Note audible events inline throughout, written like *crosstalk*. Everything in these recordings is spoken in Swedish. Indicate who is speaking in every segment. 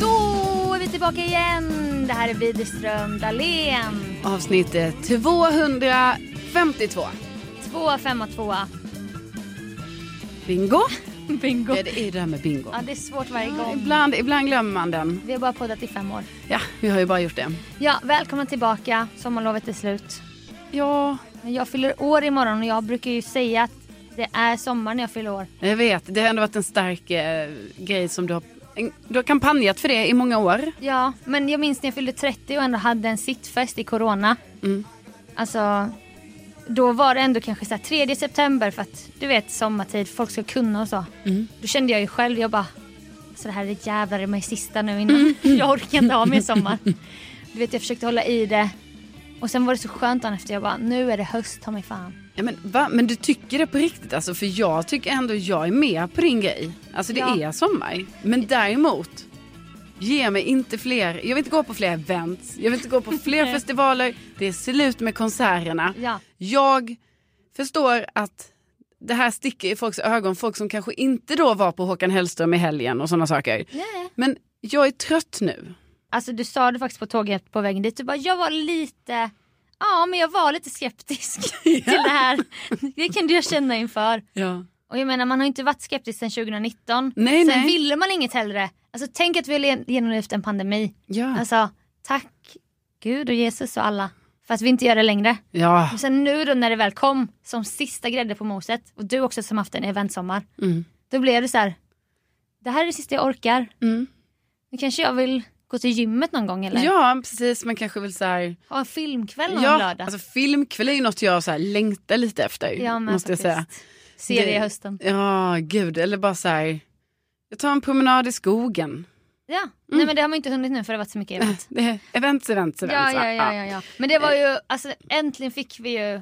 Speaker 1: Då är vi tillbaka igen. Det här är Widerström Dahlén.
Speaker 2: Avsnitt eh, 252.
Speaker 1: 252.
Speaker 2: Bingo.
Speaker 1: Bingo.
Speaker 2: Ja, det är ju det här med bingo.
Speaker 1: Ja, det är svårt varje gång.
Speaker 2: Ibland, ibland glömmer man den.
Speaker 1: Vi har bara poddat i fem år.
Speaker 2: Ja, vi har ju bara gjort det.
Speaker 1: Ja, välkommen tillbaka. Sommarlovet är slut.
Speaker 2: Ja,
Speaker 1: Men Jag fyller år imorgon och jag brukar ju säga att det är sommar när jag fyller år.
Speaker 2: jag vet. Det har ändå varit en stark eh, grej som du har... En, du har kampanjat för det i många år.
Speaker 1: Ja, men jag minns när jag fyllde 30 och ändå hade en sittfest i corona.
Speaker 2: Mm.
Speaker 1: Alltså, då var det ändå kanske så här 3 september för att du vet sommartid, folk ska kunna och så. Då kände jag ju själv, jag bara, så det här är jävlar i mig sista nu innan. *laughs* Jag orkar inte ha mer sommar. Du vet jag försökte hålla i det. Och sen var det så skönt dagen efter, jag bara, nu är det höst, ta mig fan.
Speaker 2: Ja, men, va? men du tycker det på riktigt alltså? För jag tycker ändå jag är med på din grej. Alltså det
Speaker 1: Ja.
Speaker 2: är sommar. Men däremot, ge mig inte fler. Jag vill inte gå på fler events. Jag vill inte gå på fler festivaler. Det är slut med konserterna.
Speaker 1: Ja.
Speaker 2: Jag förstår att det här sticker i folks ögon. Folk som kanske inte då var på Håkan Hellström i helgen och sådana saker.
Speaker 1: Nej.
Speaker 2: Men jag är trött nu.
Speaker 1: Alltså du sa det faktiskt på tåget på vägen dit, du bara jag var lite, ja men jag var lite skeptisk *laughs* till det här. Det kunde jag känna inför.
Speaker 2: Ja.
Speaker 1: Och jag menar man har inte varit skeptisk sedan 2019.
Speaker 2: Nej,
Speaker 1: Sen
Speaker 2: nej.
Speaker 1: ville man inget hellre. Alltså tänk att vi har le- genomlevt en pandemi.
Speaker 2: Ja.
Speaker 1: Alltså tack Gud och Jesus och alla för att vi inte gör det längre.
Speaker 2: ja.
Speaker 1: Och sen nu då när det väl kom som sista grädde på moset och du också som haft en eventsommar.
Speaker 2: Mm.
Speaker 1: Då blev det så här, det här är det sista jag orkar.
Speaker 2: Mm.
Speaker 1: Nu kanske jag vill gå till gymmet någon gång eller
Speaker 2: Ja, precis. Man kanske vill så här...
Speaker 1: ha en filmkväll någon
Speaker 2: Ja,
Speaker 1: lördag.
Speaker 2: alltså filmkväll är ju något jag så här längtar lite efter.
Speaker 1: Ja, men
Speaker 2: måste jag säga.
Speaker 1: faktiskt. Serie
Speaker 2: Det-
Speaker 1: i hösten.
Speaker 2: Ja, gud. Eller bara så här, jag tar en promenad i skogen.
Speaker 1: Ja,
Speaker 2: Mm.
Speaker 1: nej men det har man inte hunnit nu för det har varit så mycket
Speaker 2: *laughs*
Speaker 1: event.
Speaker 2: Det är events, events, events.
Speaker 1: ja,
Speaker 2: va?
Speaker 1: ja, ja, ja, ja. Men det var ju, alltså äntligen fick vi ju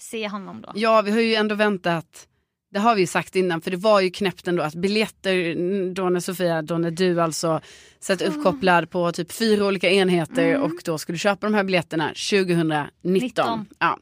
Speaker 1: se honom då.
Speaker 2: Eh. Ja, vi har ju ändå väntat. Det har vi ju sagt innan, för det var ju knäppt ändå att biljetter, mm, då när Sofia, då när du alltså satt uppkopplad på typ fyra olika enheter
Speaker 1: Mm.
Speaker 2: och då skulle köpa de här biljetterna 2019.
Speaker 1: 19.
Speaker 2: Ja.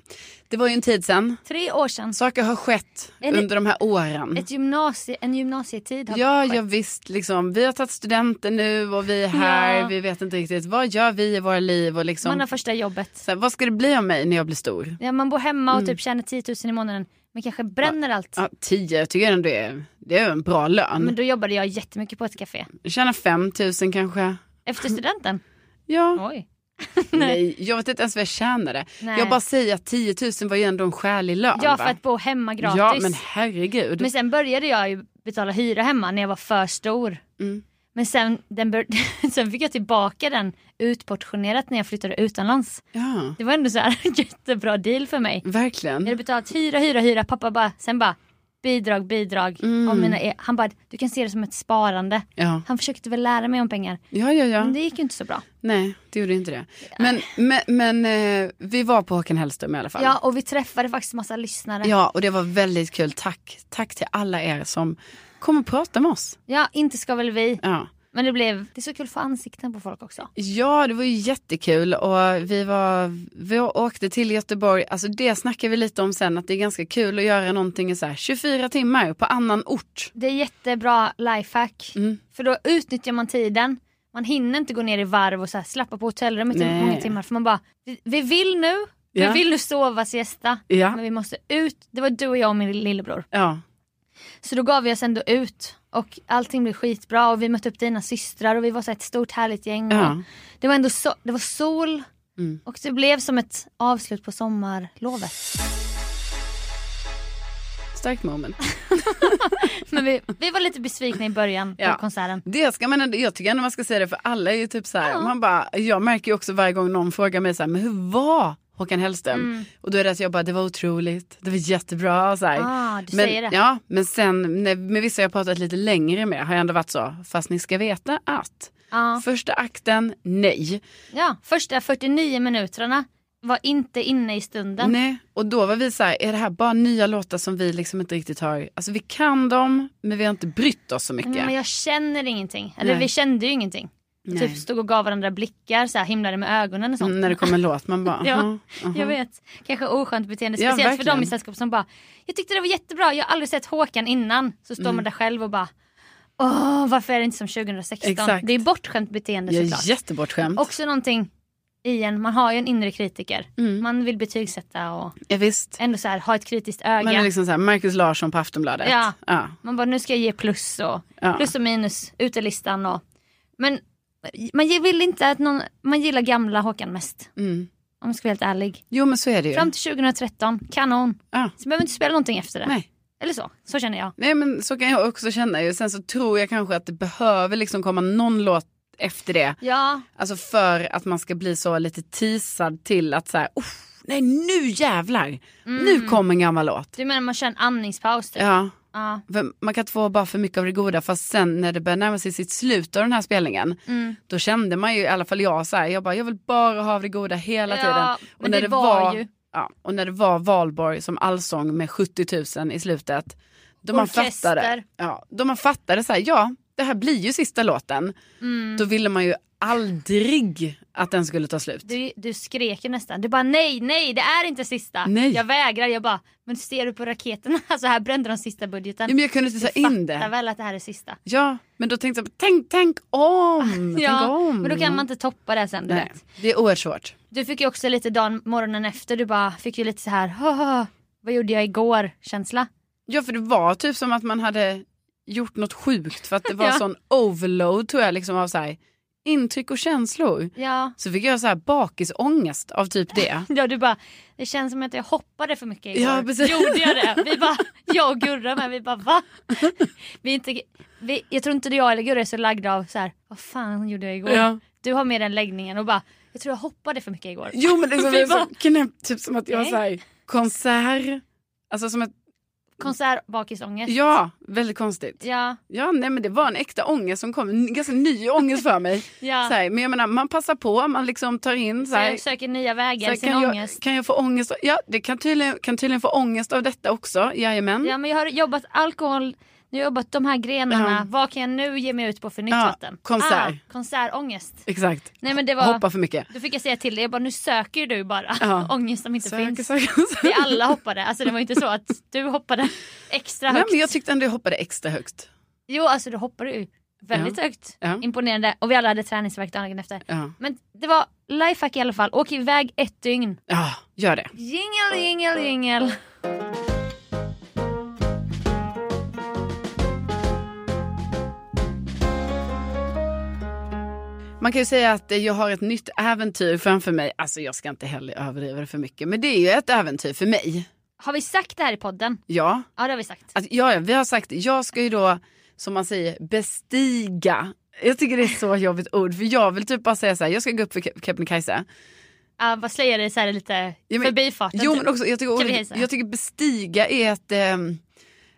Speaker 2: Det var ju en tid sedan.
Speaker 1: Tre år sedan.
Speaker 2: Saker har skett
Speaker 1: Är det-
Speaker 2: under de här åren.
Speaker 1: Ett gymnasie, en gymnasietid har
Speaker 2: Ja,
Speaker 1: skett.
Speaker 2: ja visst. Liksom, vi har tagit studenter nu och vi är här.
Speaker 1: Ja.
Speaker 2: Vi vet inte riktigt vad gör vi i våra liv. Och liksom,
Speaker 1: Man har första jobbet.
Speaker 2: så här, vad ska det bli av mig när jag blir stor?
Speaker 1: Ja, man bor hemma och typ tjänar 10 000 i månaden men kanske bränner allt.
Speaker 2: Mm. Ja, tio jag tycker ändå det är, det är en bra lön.
Speaker 1: Men då jobbade jag jättemycket på ett café.
Speaker 2: Tjäna 5 000 kanske. *laughs*
Speaker 1: Efter studenten.
Speaker 2: Ja,
Speaker 1: Oj.
Speaker 2: *laughs* nej. Jag vet inte ens vad jag tjänade.
Speaker 1: Nej.
Speaker 2: Jag bara säger att 10 000 var ju ändå en skälig lön.
Speaker 1: Ja,
Speaker 2: va?
Speaker 1: för att bo hemma gratis.
Speaker 2: Ja, men herregud.
Speaker 1: Men sen började jag ju betala hyra hemma när jag var för stor.
Speaker 2: Mm.
Speaker 1: Men sen, den bör- *laughs* sen fick jag tillbaka den utportionerat när jag flyttade utomlands.
Speaker 2: Ja,
Speaker 1: Det var ändå så här *laughs* en jättebra deal för mig.
Speaker 2: Mm. verkligen.
Speaker 1: Jag hade betalat hyra, hyra, hyra. Pappa bara, sen bara bidrag, bidrag.
Speaker 2: Mm.
Speaker 1: Av mina e- han bara, du kan se det som ett sparande.
Speaker 2: Ja,
Speaker 1: Han försökte väl lära mig om pengar.
Speaker 2: ja, ja. ja.
Speaker 1: Men det gick ju inte så bra.
Speaker 2: Nej, det gjorde inte det. Men, men, men eh, vi var på Håkan Hellström i alla fall.
Speaker 1: Ja, och vi träffade faktiskt massa lyssnare. Ja,
Speaker 2: Ja, och det var väldigt kul. Tack. Tack till alla er som kom och pratade med oss.
Speaker 1: inte ska väl vi.
Speaker 2: Ja.
Speaker 1: Men det blev, det är så kul att få ansikten på folk också.
Speaker 2: Ja, det var ju jättekul och vi, var, vi åkte till Göteborg. Alltså det snackar vi lite om sen, att det är ganska kul att göra någonting i så här 24 timmar på annan ort.
Speaker 1: Det är jättebra lifehack.
Speaker 2: Mm.
Speaker 1: För då utnyttjar man tiden. Man man hinner inte gå ner i varv och så här slappa på hotellrummet i typ
Speaker 2: Nej.
Speaker 1: många timmar för man bara, vi, vi vill nu,
Speaker 2: Ja.
Speaker 1: vi vill nu sova siesta.
Speaker 2: Ja.
Speaker 1: Men vi måste ut, det var du och jag och min lillebror.
Speaker 2: Ja.
Speaker 1: Så då gav vi oss ändå ut och allting blev skitbra och vi mötte upp dina systrar och vi var så här ett stort härligt gäng. Och
Speaker 2: Ja.
Speaker 1: Det var ändå so- det var sol
Speaker 2: Mm.
Speaker 1: och det blev som ett avslut på sommarlovet.
Speaker 2: Starkt moment.
Speaker 1: Men vi, vi var lite besvikna i början
Speaker 2: Ja.
Speaker 1: på konserten.
Speaker 2: Det ska man ändå, jag tycker ändå man ska säga det för alla är ju typ så här, man bara, jag märker ju också varje gång någon frågar mig så här, men hur var Håkan Hellström? Och då är det att jag bara, det var otroligt, det var jättebra. Så här.
Speaker 1: Ah, du
Speaker 2: men,
Speaker 1: säger det.
Speaker 2: Ja, men sen när, med vissa jag pratat lite längre med har jag ändå varit så, fast ni ska veta att
Speaker 1: Ja.
Speaker 2: första akten, nej.
Speaker 1: ja, första 49 minuterna var inte inne i stunden.
Speaker 2: nej. Och då var vi så här, är det här bara nya låtar som vi liksom inte riktigt har, alltså vi kan dem, men vi har inte brytt oss så mycket.
Speaker 1: Mm, Men jag känner ingenting. Eller
Speaker 2: Nej.
Speaker 1: vi kände ju ingenting.
Speaker 2: Nej.
Speaker 1: Typ stod och gav varandra blickar, så här, himlade med ögonen och sånt.
Speaker 2: Mm, när det kommer en låt, man bara,
Speaker 1: *laughs* Ja,
Speaker 2: aha, aha.
Speaker 1: Jag vet. Kanske oskönt beteende.
Speaker 2: Ja,
Speaker 1: Speciellt för dem i
Speaker 2: verkligen.
Speaker 1: sällskap som bara “Jag tyckte det var jättebra, jag har aldrig sett Håkan innan”. Så står
Speaker 2: Mm.
Speaker 1: man där själv och bara “Åh, varför är det inte som 2016?”
Speaker 2: Exakt.
Speaker 1: Det är bortskämt beteende
Speaker 2: jag
Speaker 1: såklart.
Speaker 2: är jättebortskämd.
Speaker 1: Också någonting i en, man har ju en inre kritiker.
Speaker 2: Mm.
Speaker 1: Man vill betygsätta och
Speaker 2: Ja, visst.
Speaker 1: ändå så här, ha ett kritiskt öga.
Speaker 2: Man är liksom såhär, Marcus Larsson på Aftonbladet.
Speaker 1: Ja.
Speaker 2: ja.
Speaker 1: Man bara, nu ska jag ge plus och
Speaker 2: Ja.
Speaker 1: plus och minus, utelistan och... Men man ge- vill inte att någon, man gillar gamla Håkan mest.
Speaker 2: Mm.
Speaker 1: Om jag ska vara helt ärlig.
Speaker 2: Jo men så är det ju.
Speaker 1: Fram till 2013, kanon.
Speaker 2: Ja.
Speaker 1: Så behöver vi inte spela någonting efter det.
Speaker 2: Nej.
Speaker 1: Eller så, så känner jag.
Speaker 2: Nej men så kan jag också känna ju. Sen så tror jag kanske att det behöver liksom komma någon låt efter det.
Speaker 1: Ja,
Speaker 2: Alltså för att man ska bli så lite teasad till att såhär, oh, nej nu jävlar. Nu kommer en gammal låt.
Speaker 1: du menar man kör en andningspaus typ?
Speaker 2: Ja.
Speaker 1: Ja.
Speaker 2: För man kan inte få bara för mycket av det goda fast sen när det börjar närma sig sitt slut av den här spelningen
Speaker 1: Mm.
Speaker 2: då kände man ju i alla fall jag så här, jag bara jag vill bara ha av det goda hela
Speaker 1: Ja,
Speaker 2: tiden.
Speaker 1: men det var ju.
Speaker 2: Ja, och när det var valborg som allsång med 70 000 i slutet. Då man
Speaker 1: Orkester.
Speaker 2: fattade, ja, då man fattade så här, ja det här blir ju sista låten.
Speaker 1: Mm.
Speaker 2: Då ville man ju aldrig att den skulle ta slut.
Speaker 1: Du, du skrek ju nästan. Du bara nej, nej, det är inte sista.
Speaker 2: Nej.
Speaker 1: Jag vägrar. Jag bara, men ser du på raketerna? *laughs* Så här brände de sista budgeten.
Speaker 2: Ja, men jag kunde inte ta
Speaker 1: du
Speaker 2: in
Speaker 1: fattar
Speaker 2: det.
Speaker 1: väl att det här är sista?
Speaker 2: Ja, men då tänkte jag, tänk, tänk om.
Speaker 1: *laughs*
Speaker 2: tänk om.
Speaker 1: men då kan man inte toppa det sen. Du,
Speaker 2: Nej,
Speaker 1: vet.
Speaker 2: det är oerhört svårt.
Speaker 1: du fick ju också lite dagen, morgonen efter, du bara fick ju lite så här, "Haha, vad gjorde jag igår känsla.
Speaker 2: Ja för det var typ som att man hade gjort något sjukt för att det
Speaker 1: *laughs*
Speaker 2: var
Speaker 1: Ja.
Speaker 2: sån overload tror jag liksom av så här, intryck och känslor.
Speaker 1: Ja.
Speaker 2: Så fick jag så här bakisångest av typ det.
Speaker 1: *laughs* ja, du bara, det känns som att jag hoppade för mycket igår.
Speaker 2: Ja, precis.
Speaker 1: Gjorde jag det? Vi
Speaker 2: *laughs*
Speaker 1: bara, jag och Gurra med, vi bara va? Vi är inte, vi, jag tror inte jag eller Gurra är så lagda av så här, vad fan gjorde jag igår?
Speaker 2: *laughs* Ja.
Speaker 1: Du har med den läggningen och bara, jag tror jag hoppade för mycket igår.
Speaker 2: Jo men liksom det är
Speaker 1: bara-
Speaker 2: så knäppt, typ som att jag var
Speaker 1: Nej.
Speaker 2: så här, konsert. Alltså som ett,
Speaker 1: Konsert bakisångest.
Speaker 2: ja väldigt konstigt.
Speaker 1: Ja,
Speaker 2: Ja nej men det var en äkta ångest som kom, en ganska ny ångest för mig.
Speaker 1: ja.
Speaker 2: Så här, men jag menar man passar på, man liksom tar in så här,
Speaker 1: Sö- söker nya
Speaker 2: så
Speaker 1: vägar,
Speaker 2: här,
Speaker 1: i sin
Speaker 2: kan, jag,
Speaker 1: ångest.
Speaker 2: kan jag få ångest? Ja det kan tydligen, kan tydligen få ångest av detta också, jajamän.
Speaker 1: Ja men jag har jobbat alkohol, nu har jag jobbat de här grenarna. Vad kan jag nu ge mig ut på för nytt
Speaker 2: Ja,
Speaker 1: vatten?
Speaker 2: konsert.
Speaker 1: Ah, konsertångest.
Speaker 2: Exakt.
Speaker 1: Nej men det var,
Speaker 2: Hoppa för mycket.
Speaker 1: då fick jag säga till dig, jag bara nu söker du bara
Speaker 2: Ja.
Speaker 1: *laughs* ångest som inte
Speaker 2: Söker,
Speaker 1: finns.
Speaker 2: söker, söker.
Speaker 1: Vi alla hoppade, alltså det var inte så att du hoppade extra
Speaker 2: Nej,
Speaker 1: högt.
Speaker 2: men jag tyckte ändå jag hoppade extra högt.
Speaker 1: Jo alltså du hoppade ju väldigt högt.
Speaker 2: Ja.
Speaker 1: Imponerande och vi alla hade träningsvärk dagen efter.
Speaker 2: Ja.
Speaker 1: Men det var lifehack i alla fall, åk iväg ett dygn.
Speaker 2: ja, gör det.
Speaker 1: Jingel, jingel, jingel.
Speaker 2: Man kan ju säga att eh, jag har ett nytt äventyr framför mig. Alltså jag ska inte heller överdriva det för mycket. Men det är ju ett äventyr för mig.
Speaker 1: Har vi sagt det här i podden?
Speaker 2: Ja,
Speaker 1: Ja det har vi sagt.
Speaker 2: att, ja, ja vi har sagt, jag ska ju då som man säger bestiga. Jag tycker det är så jobbigt ord för jag vill typ bara säga så här, jag ska gå upp för Ke- Kebnekaise.
Speaker 1: Ja, vad slöjar dig så här lite
Speaker 2: Ja, men-
Speaker 1: förbifarten.
Speaker 2: Jo
Speaker 1: typ.
Speaker 2: men också, jag tycker, ordet,
Speaker 1: Kebnekaise.
Speaker 2: jag tycker bestiga är ett, ehm,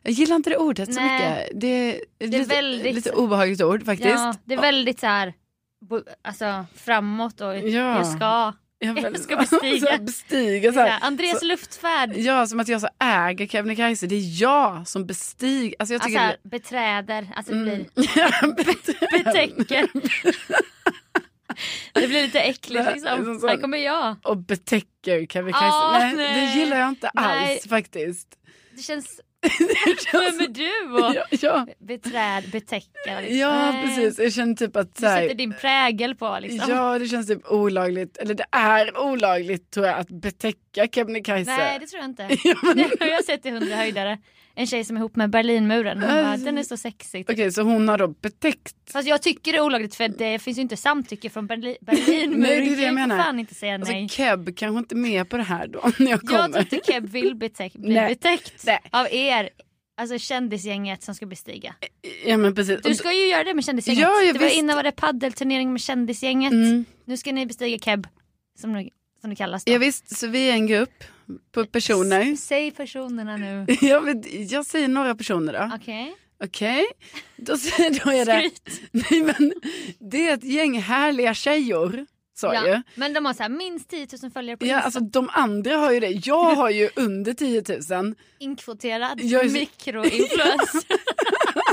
Speaker 2: jag gillar inte det ordet så
Speaker 1: Nej.
Speaker 2: mycket. Det, det är lite,
Speaker 1: väldigt-
Speaker 2: lite obehagligt ord faktiskt.
Speaker 1: ja, det är väldigt så här bo- alltså, framåt och
Speaker 2: Ja.
Speaker 1: jag ska.
Speaker 2: Jag,
Speaker 1: Jag
Speaker 2: vill-
Speaker 1: ska bestiga.
Speaker 2: *laughs* Så här, bestiga
Speaker 1: Så
Speaker 2: så här.
Speaker 1: här, Andreas luftfärd.
Speaker 2: Ja, som att jag så äger Kebnekaise. Det är jag som bestiger. Alltså jag
Speaker 1: Alltså,
Speaker 2: tycker Mm.
Speaker 1: här, beträder, alltså det blir *laughs*
Speaker 2: *laughs* det
Speaker 1: betäcker. det blir lite äckligt
Speaker 2: Nej,
Speaker 1: liksom.
Speaker 2: som sån-
Speaker 1: Här kommer jag.
Speaker 2: Och betäcker Kebnekaise.
Speaker 1: Ah,
Speaker 2: nej,
Speaker 1: nej.
Speaker 2: det gillar jag inte
Speaker 1: Nej. *laughs*
Speaker 2: alls faktiskt.
Speaker 1: Det känns Vem är du? Och
Speaker 2: *laughs* ja, ja.
Speaker 1: beträd, betäcka. Liksom.
Speaker 2: ja
Speaker 1: Nej.
Speaker 2: precis. Jag känner typ att
Speaker 1: Du
Speaker 2: så här,
Speaker 1: sätter din prägel på liksom.
Speaker 2: Ja, det känns typ olagligt. Eller det är olagligt tror jag att betäcka Kebnekaise.
Speaker 1: Nej det tror jag inte.
Speaker 2: *laughs*
Speaker 1: *laughs*
Speaker 2: Ja, men-
Speaker 1: Det har jag sett i Hundra höjdare. En tjej som är ihop med Berlinmuren. Hon bara, den är så sexig. typ."
Speaker 2: Okej, så hon har då betäckt.
Speaker 1: Fast jag tycker det är olagligt för det finns ju inte samtycke från Berlin,
Speaker 2: *laughs* Nej,
Speaker 1: Berlinmuren.
Speaker 2: det är det jag
Speaker 1: kan ju för
Speaker 2: menar.
Speaker 1: fan inte säga
Speaker 2: Alltså
Speaker 1: nej. typ.
Speaker 2: Keb kanske inte är med på det här då när jag
Speaker 1: Jag tror
Speaker 2: kommer.
Speaker 1: inte Keb vill betäck, bli
Speaker 2: *laughs* Nej.
Speaker 1: betäckt
Speaker 2: Nej.
Speaker 1: av er. Alltså kändisgänget som ska bestiga.
Speaker 2: Ja men precis.
Speaker 1: Du ska ju göra det med kändisgänget.
Speaker 2: Eh, Ja, ja,
Speaker 1: det var
Speaker 2: visst.
Speaker 1: innan var det paddelturnering med kändisgänget.
Speaker 2: Mm.
Speaker 1: Nu ska ni bestiga Keb. Som, nu- som det kallas då.
Speaker 2: Ja, visst, så vi är en grupp på personer. *laughs*
Speaker 1: S- Säg personerna nu.
Speaker 2: Jag, vet, jag säger några personer då.
Speaker 1: Okej.
Speaker 2: Okej, då, säger- då är det...
Speaker 1: Skryt.
Speaker 2: *laughs* Nej, men, det är ett gäng härliga tjejor. Så
Speaker 1: Ja.
Speaker 2: ju.
Speaker 1: Men de har så här, minst 10 000 följare på
Speaker 2: Ja,
Speaker 1: Insta.
Speaker 2: alltså, de andra har ju det. Jag har ju under 10 000.
Speaker 1: Inkvoterad
Speaker 2: Jag är så-
Speaker 1: mikroinfluencer.
Speaker 2: *laughs*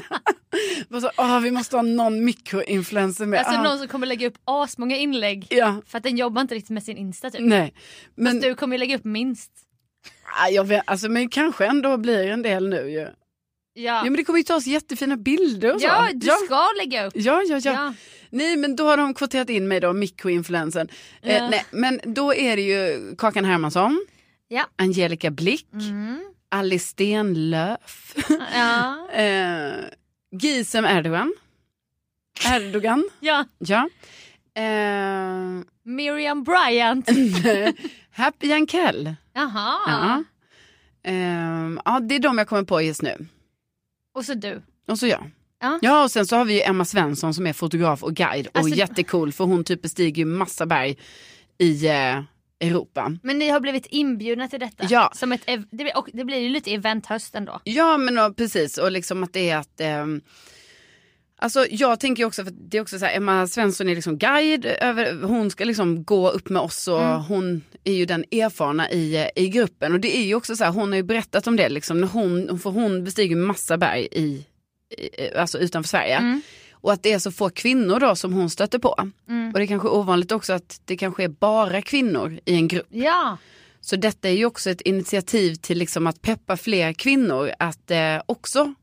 Speaker 2: Och så, "Åh, vi måste ha någon mikroinfluencer med.
Speaker 1: Alltså
Speaker 2: Ah,
Speaker 1: någon som kommer lägga upp asmånga inlägg.
Speaker 2: Ja,
Speaker 1: För att den jobbar inte riktigt med sin Insta typ.
Speaker 2: nej. Men,
Speaker 1: Du kommer ju lägga upp minst.
Speaker 2: ah, jag vet, alltså, men kanske ändå blir en del nu ju. Ja,
Speaker 1: Ja,
Speaker 2: men det kommer ju ta oss jättefina bilder och så.
Speaker 1: ja du
Speaker 2: ja.
Speaker 1: ska lägga upp.
Speaker 2: Ja, ja, ja.
Speaker 1: Ja.
Speaker 2: Nej, men då har de kvoterat in mig då, mikroinfluensen. Eh,
Speaker 1: Ja.
Speaker 2: nej, men då är det ju Kakan Hermansson,
Speaker 1: Ja.
Speaker 2: Angelica Blick,
Speaker 1: Mm.
Speaker 2: Alice
Speaker 1: *laughs*
Speaker 2: Stenlöf,
Speaker 1: Ja.
Speaker 2: eh, Gizem Erdogan. Erdogan,
Speaker 1: ja.
Speaker 2: ja. Eh, *laughs*
Speaker 1: Miriam Bryant.
Speaker 2: Happy Jankell.
Speaker 1: Jaha.
Speaker 2: Ja. Eh, ja, det är de jag kommer på just nu.
Speaker 1: Och så du.
Speaker 2: Och så jag.
Speaker 1: Ja.
Speaker 2: Ja, och sen så har vi ju Emma Svensson som är fotograf och guide och
Speaker 1: Alltså-
Speaker 2: jättecool för hon typ bestiger ju massa berg i eh, Europa.
Speaker 1: Men ni har blivit inbjudna till detta.
Speaker 2: Ja.
Speaker 1: Som ett, ev- det, blir- och det blir ju lite eventhöst ändå.
Speaker 2: Ja, men ja, precis. Och liksom att det är att... ehm, alltså jag tänker ju också, för det är också så här, Emma Svensson är liksom guide. Över, hon ska liksom gå upp med oss och hon är ju den erfarna i, eh, i gruppen. Och det är ju också så här, hon har ju berättat om det liksom. När hon, för hon bestiger ju massa berg i, i, eh, alltså utanför Sverige. Och att det är så få kvinnor då som hon stöter på.
Speaker 1: Mm.
Speaker 2: Och det är kanske är ovanligt också att det kanske är bara kvinnor i en grupp.
Speaker 1: Ja.
Speaker 2: Så detta är ju också ett initiativ till liksom att peppa fler kvinnor att eh, också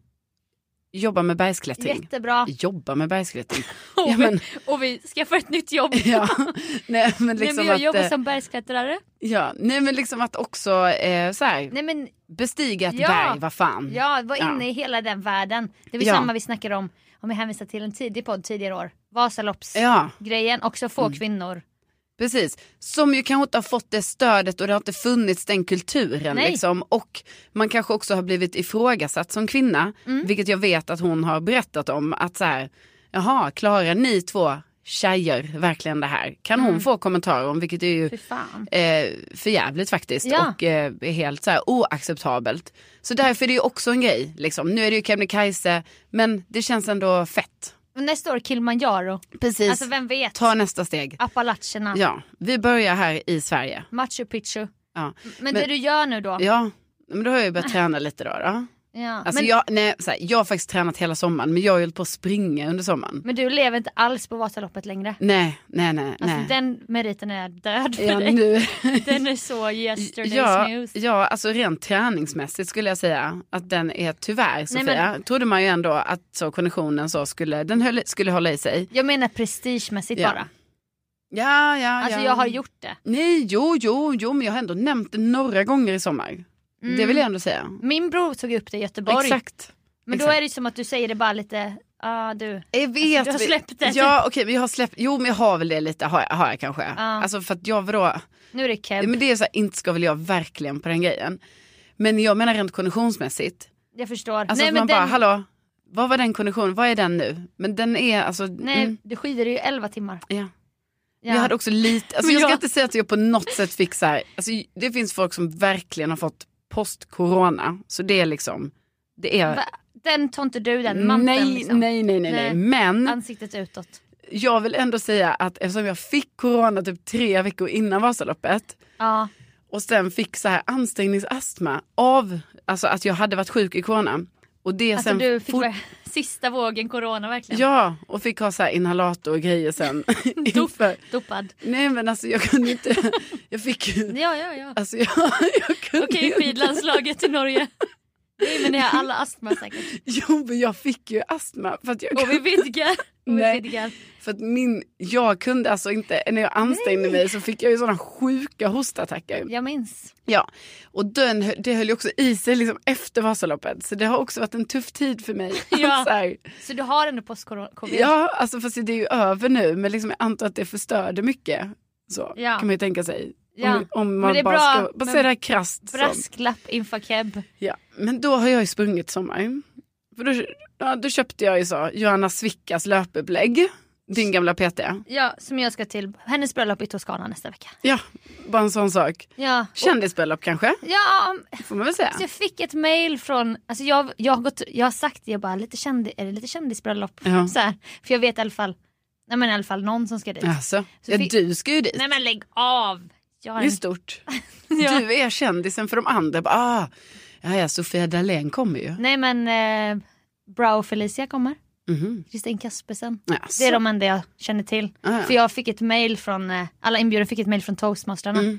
Speaker 2: jobba med bergsklättring.
Speaker 1: Jättebra.
Speaker 2: Jobba
Speaker 1: *laughs*
Speaker 2: med bergsklättring.
Speaker 1: Och,
Speaker 2: ja, men,
Speaker 1: vi, och vi skaffar ett nytt jobb.
Speaker 2: *laughs* ja. Nej, men
Speaker 1: Nej, men
Speaker 2: liksom
Speaker 1: jag
Speaker 2: att,
Speaker 1: jobbar
Speaker 2: eh,
Speaker 1: som bergsklättrare.
Speaker 2: ja. Nej men liksom att också eh, så här,
Speaker 1: Nej, men,
Speaker 2: bestiga ett
Speaker 1: Ja.
Speaker 2: berg, vad fan.
Speaker 1: ja, var
Speaker 2: Ja.
Speaker 1: inne i hela den världen. Det var
Speaker 2: Ja.
Speaker 1: samma vi snackade om, om jag hänvisar till en tidig podd tidigare år. Vasalopps.
Speaker 2: Ja,
Speaker 1: grejen, också få
Speaker 2: Mm.
Speaker 1: kvinnor.
Speaker 2: precis. Som ju kanske inte har fått det stödet och det har inte funnits den kulturen.
Speaker 1: Nej.
Speaker 2: Liksom. Och man kanske också har blivit ifrågasatt som kvinna. Vilket jag vet att hon har berättat om. Att så här, jaha, klarar ni två tjejer verkligen det här? Kan hon få kommentarer om, vilket är ju
Speaker 1: Fy fan.
Speaker 2: eh, Mm. för jävligt faktiskt
Speaker 1: Ja.
Speaker 2: och eh, är helt så här oacceptabelt. Så därför är det ju också en grej. Liksom. Nu är det ju Kebnekaise men det känns ändå fett.
Speaker 1: Och Nästa år Kilimanjaro.
Speaker 2: Precis,
Speaker 1: Alltså vem vet?
Speaker 2: ta nästa steg.
Speaker 1: Appalacherna,
Speaker 2: Ja, vi börjar här i Sverige.
Speaker 1: Machu Picchu.
Speaker 2: Ja.
Speaker 1: Men, det du gör nu då? Ja.
Speaker 2: Ja, men då har jag
Speaker 1: *laughs*
Speaker 2: ju börjat träna lite då. då. Alltså
Speaker 1: men,
Speaker 2: jag, nej, så här, jag har faktiskt tränat hela sommaren men jag har ju hållit på att springa under sommaren.
Speaker 1: men du lever inte alls på Vasaloppet längre.
Speaker 2: Nej, nej, nej.
Speaker 1: Alltså
Speaker 2: nej.
Speaker 1: den meriten är död för *laughs*
Speaker 2: ja,
Speaker 1: dig.
Speaker 2: nu.
Speaker 1: Den är så yesterday's
Speaker 2: ja,
Speaker 1: news.
Speaker 2: ja, alltså rent träningsmässigt skulle jag säga att den är tyvärr Sofia.
Speaker 1: men-
Speaker 2: Trodde man ju ändå att så konditionen så skulle, den höll, skulle hålla i sig.
Speaker 1: Jag menar prestigemässigt
Speaker 2: Ja.
Speaker 1: bara.
Speaker 2: Ja, ja,
Speaker 1: Alltså
Speaker 2: ja.
Speaker 1: jag har gjort det.
Speaker 2: Nej, jo, jo, jo, men jag har ändå nämnt det några gånger i sommar. Det
Speaker 1: Mm.
Speaker 2: vill jag ändå säga.
Speaker 1: Min bror tog upp det i Göteborg.
Speaker 2: Exakt.
Speaker 1: men då
Speaker 2: exakt.
Speaker 1: är det som att du säger det bara lite, ja ah, du.
Speaker 2: Jag vet.
Speaker 1: du har
Speaker 2: men-
Speaker 1: släppt det.
Speaker 2: Ja, okej, men jag har släppt. Jo, men jag har väl det lite, har jag, har jag kanske. Alltså för att jag, vadå?
Speaker 1: Nu är det keb.
Speaker 2: Men det är så här, inte ska väl jag verkligen på den grejen. Men jag menar rent konditionsmässigt.
Speaker 1: Jag förstår.
Speaker 2: Alltså att
Speaker 1: men
Speaker 2: man bara, hallå, vad var den konditionen, vad är den nu? Men den är alltså,
Speaker 1: nej
Speaker 2: mm,
Speaker 1: du skidade ju 11 timmar.
Speaker 2: ja.
Speaker 1: Ja.
Speaker 2: Jag hade också lite,
Speaker 1: *laughs*
Speaker 2: alltså
Speaker 1: Men
Speaker 2: jag ska
Speaker 1: jag-
Speaker 2: inte säga att jag på något sätt fick så här, alltså det finns folk som verkligen har fått post-corona. Så det är liksom, det är,
Speaker 1: Va? Den tar inte du den
Speaker 2: nej,
Speaker 1: manteln
Speaker 2: nej,
Speaker 1: liksom.
Speaker 2: nej, nej, nej,
Speaker 1: Nej.
Speaker 2: Men
Speaker 1: Ansiktet utåt.
Speaker 2: jag vill ändå säga att eftersom jag fick corona typ tre veckor innan Vasaloppet
Speaker 1: Ja.
Speaker 2: och sen fick så här ansträngningsastma av alltså att jag hade varit sjuk i corona. Och det
Speaker 1: Alltså
Speaker 2: sen
Speaker 1: du fick
Speaker 2: fort-
Speaker 1: vara *laughs* sista vågen corona verkligen.
Speaker 2: Ja, och fick ha så här inhalator och
Speaker 1: *laughs*
Speaker 2: grejer sen. *laughs* inför.
Speaker 1: Dopad.
Speaker 2: Nej men alltså jag kunde inte, *laughs* jag fick ju,
Speaker 1: Ja, ja, ja.
Speaker 2: alltså jag, *laughs* jag kunde
Speaker 1: Okej,
Speaker 2: ju inte.
Speaker 1: skidlandslaget i Norge. Nej, men ni har alla astma säkert.
Speaker 2: *laughs* Jo, men jag fick ju astma. För att jag
Speaker 1: Och vi vidgar. Och vi
Speaker 2: Nej.
Speaker 1: vidgar.
Speaker 2: *laughs* För att min, jag kunde alltså inte, när jag ansträngde mig så fick jag ju sådana sjuka hostattacker.
Speaker 1: Jag minns.
Speaker 2: Ja, och den, hö- det höll ju också i sig liksom efter Vasaloppet. Så det har också varit en tuff tid för mig.
Speaker 1: *laughs* Ja.
Speaker 2: så här,
Speaker 1: Så du har ändå post-covid?
Speaker 2: ja alltså fast det är ju över nu men liksom jag antar att det förstörde mycket. Så
Speaker 1: Ja.
Speaker 2: kan man ju tänka sig.
Speaker 1: Ja.
Speaker 2: Om, om
Speaker 1: Men det
Speaker 2: man bara
Speaker 1: är bra
Speaker 2: ska, bara
Speaker 1: med
Speaker 2: säga det här krasst. så.
Speaker 1: Brasklapp inför keb.
Speaker 2: Ja. Men då har jag ju sprungit sommar. För då, ja, då köpte jag ju så, Johanna Svickas löpupplägg. Din gamla PT.
Speaker 1: Ja, som jag ska till hennes bröllop i Toscana nästa vecka.
Speaker 2: Ja, bara en sån sak.
Speaker 1: Ja,
Speaker 2: Kändisbröllop kanske,
Speaker 1: ja
Speaker 2: får man väl säga.
Speaker 1: Så Alltså, jag fick ett mail från, alltså jag, jag, har, gått, jag har sagt det, jag bara lite kändi, är det lite kändisbröllop?
Speaker 2: Ja.
Speaker 1: Så här, för jag vet i alla fall, nej men i alla fall någon som ska dit.
Speaker 2: Alltså,
Speaker 1: Så
Speaker 2: ja,
Speaker 1: fi-
Speaker 2: du ska ju dit.
Speaker 1: Nej men lägg av! Jag har
Speaker 2: Det är
Speaker 1: en,
Speaker 2: stort.
Speaker 1: *laughs* Ja.
Speaker 2: Du är kändisen för de andra. Bara, Ah, ja, ja, Sofia Dalén kommer ju.
Speaker 1: Nej men eh, Brow Felicia kommer,
Speaker 2: Mhm.
Speaker 1: Kristin Kaspersen.
Speaker 2: Alltså.
Speaker 1: Det är de enda jag känner till.
Speaker 2: Ah, ja.
Speaker 1: För jag fick ett mail från, eh, alla inbjudna fick ett mail från toastmasterna.
Speaker 2: Mm.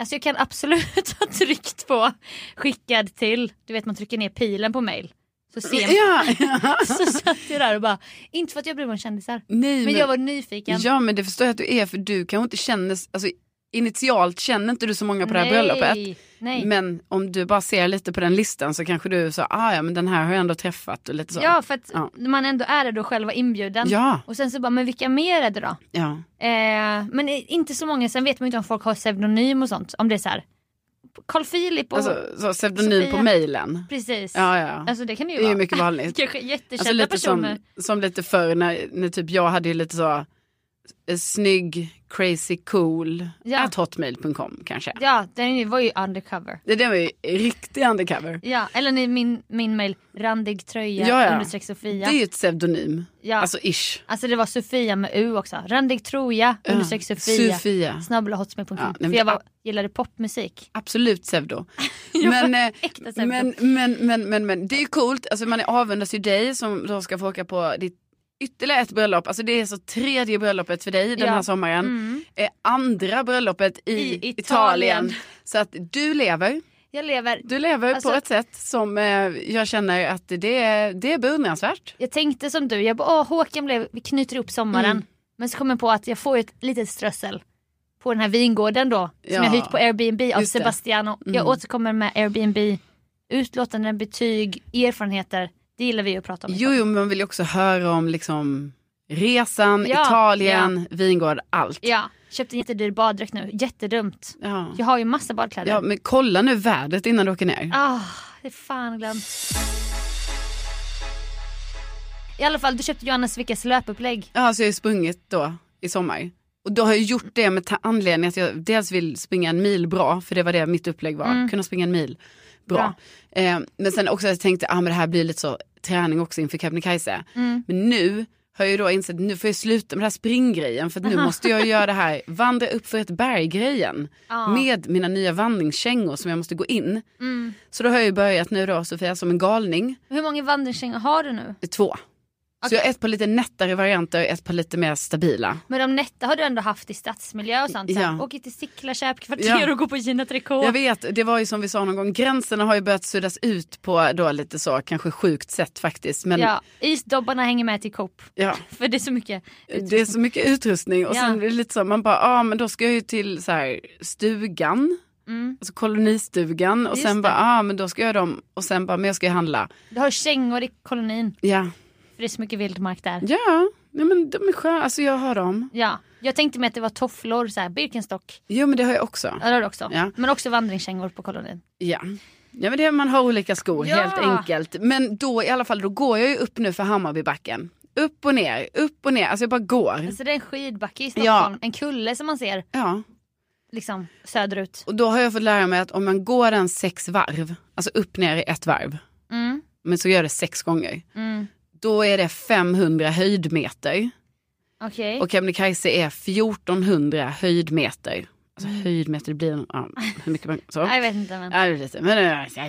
Speaker 1: Alltså jag kan absolut *laughs* ha tryckt på skickad till, du vet man trycker ner pilen på mail. Så ser man.
Speaker 2: Ja,
Speaker 1: *laughs*
Speaker 2: ja.
Speaker 1: Så satt jag där och bara, inte för att jag bryr mig om kändisar.
Speaker 2: Nej,
Speaker 1: Men jag var nyfiken.
Speaker 2: ja, men det förstår jag att du är för du kanske inte känner, alltså, initialt känner inte du så många på det här bröllopet.
Speaker 1: Nej.
Speaker 2: Men om du bara ser lite på den listan så kanske du sa, ah, ja men den här har jag ändå träffat och lite så.
Speaker 1: ja för att
Speaker 2: Ja.
Speaker 1: när man ändå är det då själv var inbjuden.
Speaker 2: ja,
Speaker 1: Och sen så bara, men vilka mer är det då?
Speaker 2: ja.
Speaker 1: Eh, men i- inte så många, sen vet man ju inte om folk har pseudonym och sånt. Om det är så här, Carl Philip och...
Speaker 2: Alltså, så pseudonym
Speaker 1: Sofia.
Speaker 2: på mejlen.
Speaker 1: precis.
Speaker 2: Ja, ja.
Speaker 1: Alltså det kan det ju
Speaker 2: det är
Speaker 1: vara. *laughs*
Speaker 2: ju mycket vanligt.
Speaker 1: Kanske jättekända
Speaker 2: Alltså lite
Speaker 1: personer.
Speaker 2: som, som lite förr när, när typ jag hade ju lite så eh, snygg, crazy, cool,
Speaker 1: Ja.
Speaker 2: at hotmail.com kanske.
Speaker 1: Ja, den var ju undercover.
Speaker 2: Det där var ju riktig undercover.
Speaker 1: Ja, eller ni- min, min mail, randig tröja
Speaker 2: Ja, ja.
Speaker 1: understreck Sofia.
Speaker 2: Det är ju ett pseudonym,
Speaker 1: ja. alltså...
Speaker 2: alltså ish.
Speaker 1: det var Sofia med U också. Randig troja
Speaker 2: Ja.
Speaker 1: understreck Sofia.
Speaker 2: Sofia.
Speaker 1: Snabbelahotmail.com.
Speaker 2: Ja, nej, men
Speaker 1: För jag
Speaker 2: det-
Speaker 1: var, gillade popmusik. *laughs*
Speaker 2: Absolut pseudo.
Speaker 1: Ja,
Speaker 2: men, eh,
Speaker 1: äkta pseudo.
Speaker 2: men, men, men, men, men det är ju coolt, alltså, man avundas ju dig som då ska få åka på ditt ytterligare ett bröllop. Alltså det är så tredje bröllopet för dig den
Speaker 1: Ja.
Speaker 2: här sommaren.
Speaker 1: Mm.
Speaker 2: Eh, andra bröllopet i,
Speaker 1: I
Speaker 2: Italien.
Speaker 1: Italien.
Speaker 2: Så att du lever.
Speaker 1: Jag lever.
Speaker 2: Du lever
Speaker 1: Alltså-
Speaker 2: på ett sätt som eh, jag känner att det är, det är beundransvärt.
Speaker 1: Jag tänkte som du, jag bara åh Håkan blev, vi knyter upp sommaren.
Speaker 2: Mm.
Speaker 1: Men så kom jag på att jag får ju ett litet strössel på den här vingården då. Som
Speaker 2: Ja.
Speaker 1: jag hyrt på Airbnb av
Speaker 2: Just det.
Speaker 1: Sebastiano. Jag
Speaker 2: Mm.
Speaker 1: återkommer med Airbnb, utlåtanden, betyg, erfarenheter. Det gillar vi ju att prata om.
Speaker 2: Jo, jo, men man vill ju också höra om liksom resan,
Speaker 1: Ja,
Speaker 2: Italien, vingård, allt. Ja.
Speaker 1: Ja, köpte en jättedyr baddräkt nu, jättedumt.
Speaker 2: Ja.
Speaker 1: Jag har ju massa badkläder.
Speaker 2: men kolla nu vädret innan du åker ner.
Speaker 1: Ah, det är fan glömt. I alla fall, du köpte Johanna Svickas löpupplägg.
Speaker 2: Ja, så jag har ju sprungit då i sommar. Och då har jag gjort det med ta- anledning att jag dels vill springa en mil bra, för det var det mitt upplägg var,
Speaker 1: Mm.
Speaker 2: kunna springa en mil bra. Eh, men sen också att jag tänkte, ah, men det här blir lite så träning också inför Kebnekaise.
Speaker 1: Mm.
Speaker 2: Men nu har jag ju då insett, nu får jag sluta med den här springgrejen, för att
Speaker 1: *laughs*
Speaker 2: nu måste jag göra det här, vandra upp för ett berg-grejen
Speaker 1: Ja.
Speaker 2: med mina nya vandringskängor som jag måste gå in.
Speaker 1: Mm.
Speaker 2: Så då har jag ju börjat nu då, Sofia, som en galning,
Speaker 1: Hur många vandringskängor har du nu?
Speaker 2: två. Så
Speaker 1: Okej.
Speaker 2: jag har ett par lite nättare varianter och ett par lite mer stabila.
Speaker 1: Men de nätta har du ändå haft i stadsmiljö och sånt. Ja.
Speaker 2: Ja.
Speaker 1: Åker till Sickla köpkvarter
Speaker 2: Ja.
Speaker 1: och går på Gina Tricot.
Speaker 2: Jag vet, det var ju som vi sa någon gång, gränserna har ju börjat suddas ut på då lite så, kanske sjukt sätt faktiskt. Men ja.
Speaker 1: Ja, isdobbarna hänger med till Coop. För det är så mycket.
Speaker 2: det är så mycket utrustning och
Speaker 1: Ja.
Speaker 2: sen blir det lite så, man bara, ja ah, men då ska jag ju till så här stugan,
Speaker 1: Mm.
Speaker 2: alltså kolonistugan och
Speaker 1: Just
Speaker 2: sen
Speaker 1: det.
Speaker 2: bara, ja ah, men då ska jag dem och sen bara, men jag ska ju handla.
Speaker 1: Du har kängor i kolonin.
Speaker 2: Ja,
Speaker 1: För det är så mycket vildmark där.
Speaker 2: ja, ja men de är sköna, alltså jag har dem.
Speaker 1: Ja. Jag tänkte mig att det var tofflor, så här, Birkenstock.
Speaker 2: Jo men det har jag också.
Speaker 1: Ja, det har du också.
Speaker 2: Ja.
Speaker 1: Men också vandringskängor på kolonin.
Speaker 2: Ja. Ja men det, man har olika skor
Speaker 1: Ja.
Speaker 2: helt enkelt. Men då i alla fall, då går jag ju upp nu för Hammarbybacken. Upp och ner, upp och ner, alltså jag bara går.
Speaker 1: Alltså det är en skidbacke i Stockholm. En kulle som man ser
Speaker 2: Ja.
Speaker 1: liksom söderut.
Speaker 2: Och då har jag fått lära mig att om man går den sex varv, alltså upp ner i ett varv,
Speaker 1: Mm.
Speaker 2: men så gör det sex gånger,
Speaker 1: Mm.
Speaker 2: då är det 500 höjdmeter
Speaker 1: Okej.
Speaker 2: och Kebnekaise är 1400 höjdmeter. Alltså höjdmeter, det blir en, ja, hur mycket man, så.
Speaker 1: Mm. *laughs* Nej, Jag vet inte men.
Speaker 2: Ja, det är lite, men, men,
Speaker 1: Alltså,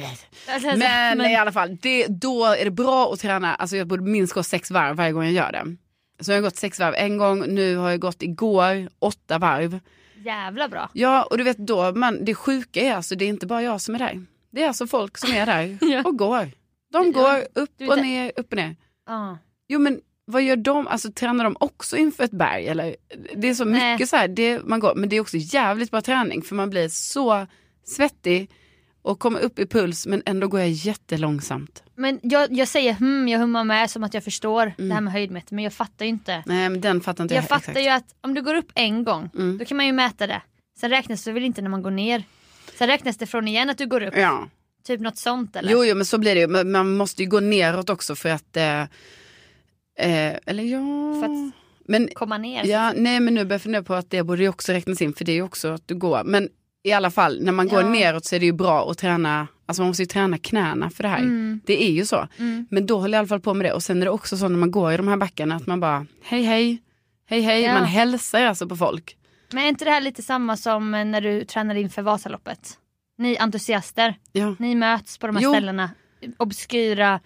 Speaker 1: alltså,
Speaker 2: i alla fall, det, då är det bra att träna, alltså jag borde minst gå sex varv varje gång jag gör det. Så jag har gått sex varv en gång, nu har jag gått igår åtta varv.
Speaker 1: Jävla bra.
Speaker 2: Ja, och du vet då, man, det sjuka är alltså, det är inte bara jag som är där. Det är alltså folk som är där
Speaker 1: *laughs* Ja.
Speaker 2: och går.
Speaker 1: Ja.
Speaker 2: De går upp
Speaker 1: Du
Speaker 2: och
Speaker 1: vet-
Speaker 2: ner, upp och ner.
Speaker 1: Ja.
Speaker 2: Jo men vad gör de, alltså tränar de också inför ett berg eller? Det är så
Speaker 1: Nej.
Speaker 2: mycket så här, det man går, men det är också jävligt bra träning för man blir så svettig och kommer upp i puls men ändå går jag jättelångsamt.
Speaker 1: Men jag, jag säger hmm, jag hummar med som att jag förstår det här med höjdmeter men jag fattar ju inte.
Speaker 2: Nej men den fattar inte
Speaker 1: Jag fattar
Speaker 2: Mm. exakt. Mm.
Speaker 1: ju att om du går upp en gång då kan man ju mäta det. Sen räknas det väl inte när man går ner. Sen räknas det från igen att du går upp.
Speaker 2: Ja.
Speaker 1: Typ något sånt eller?
Speaker 2: Jo, jo men så blir det ju, men man måste ju gå neråt också för att, eh, eh, eller ja.
Speaker 1: För att-
Speaker 2: men
Speaker 1: Komma ner.
Speaker 2: Ja, nej men nu börjar jag fundera på att det borde ju också räknas in för det är ju också att du går. Men i alla fall, när man går
Speaker 1: Ja.
Speaker 2: neråt så är det ju bra att träna, alltså man måste ju träna knäna för det här.
Speaker 1: Mm.
Speaker 2: Det är ju så.
Speaker 1: Mm.
Speaker 2: Men då håller jag i alla fall på med det. Och sen är det också så när man går i de här backarna att man bara, hej hej, hej hej,
Speaker 1: Ja.
Speaker 2: man hälsar alltså på folk.
Speaker 1: Men är inte det här lite samma som eh, när du tränar inför Vasaloppet? Ni entusiaster,
Speaker 2: Ja.
Speaker 1: ni möts på de här
Speaker 2: Jo.
Speaker 1: ställena. Obskyra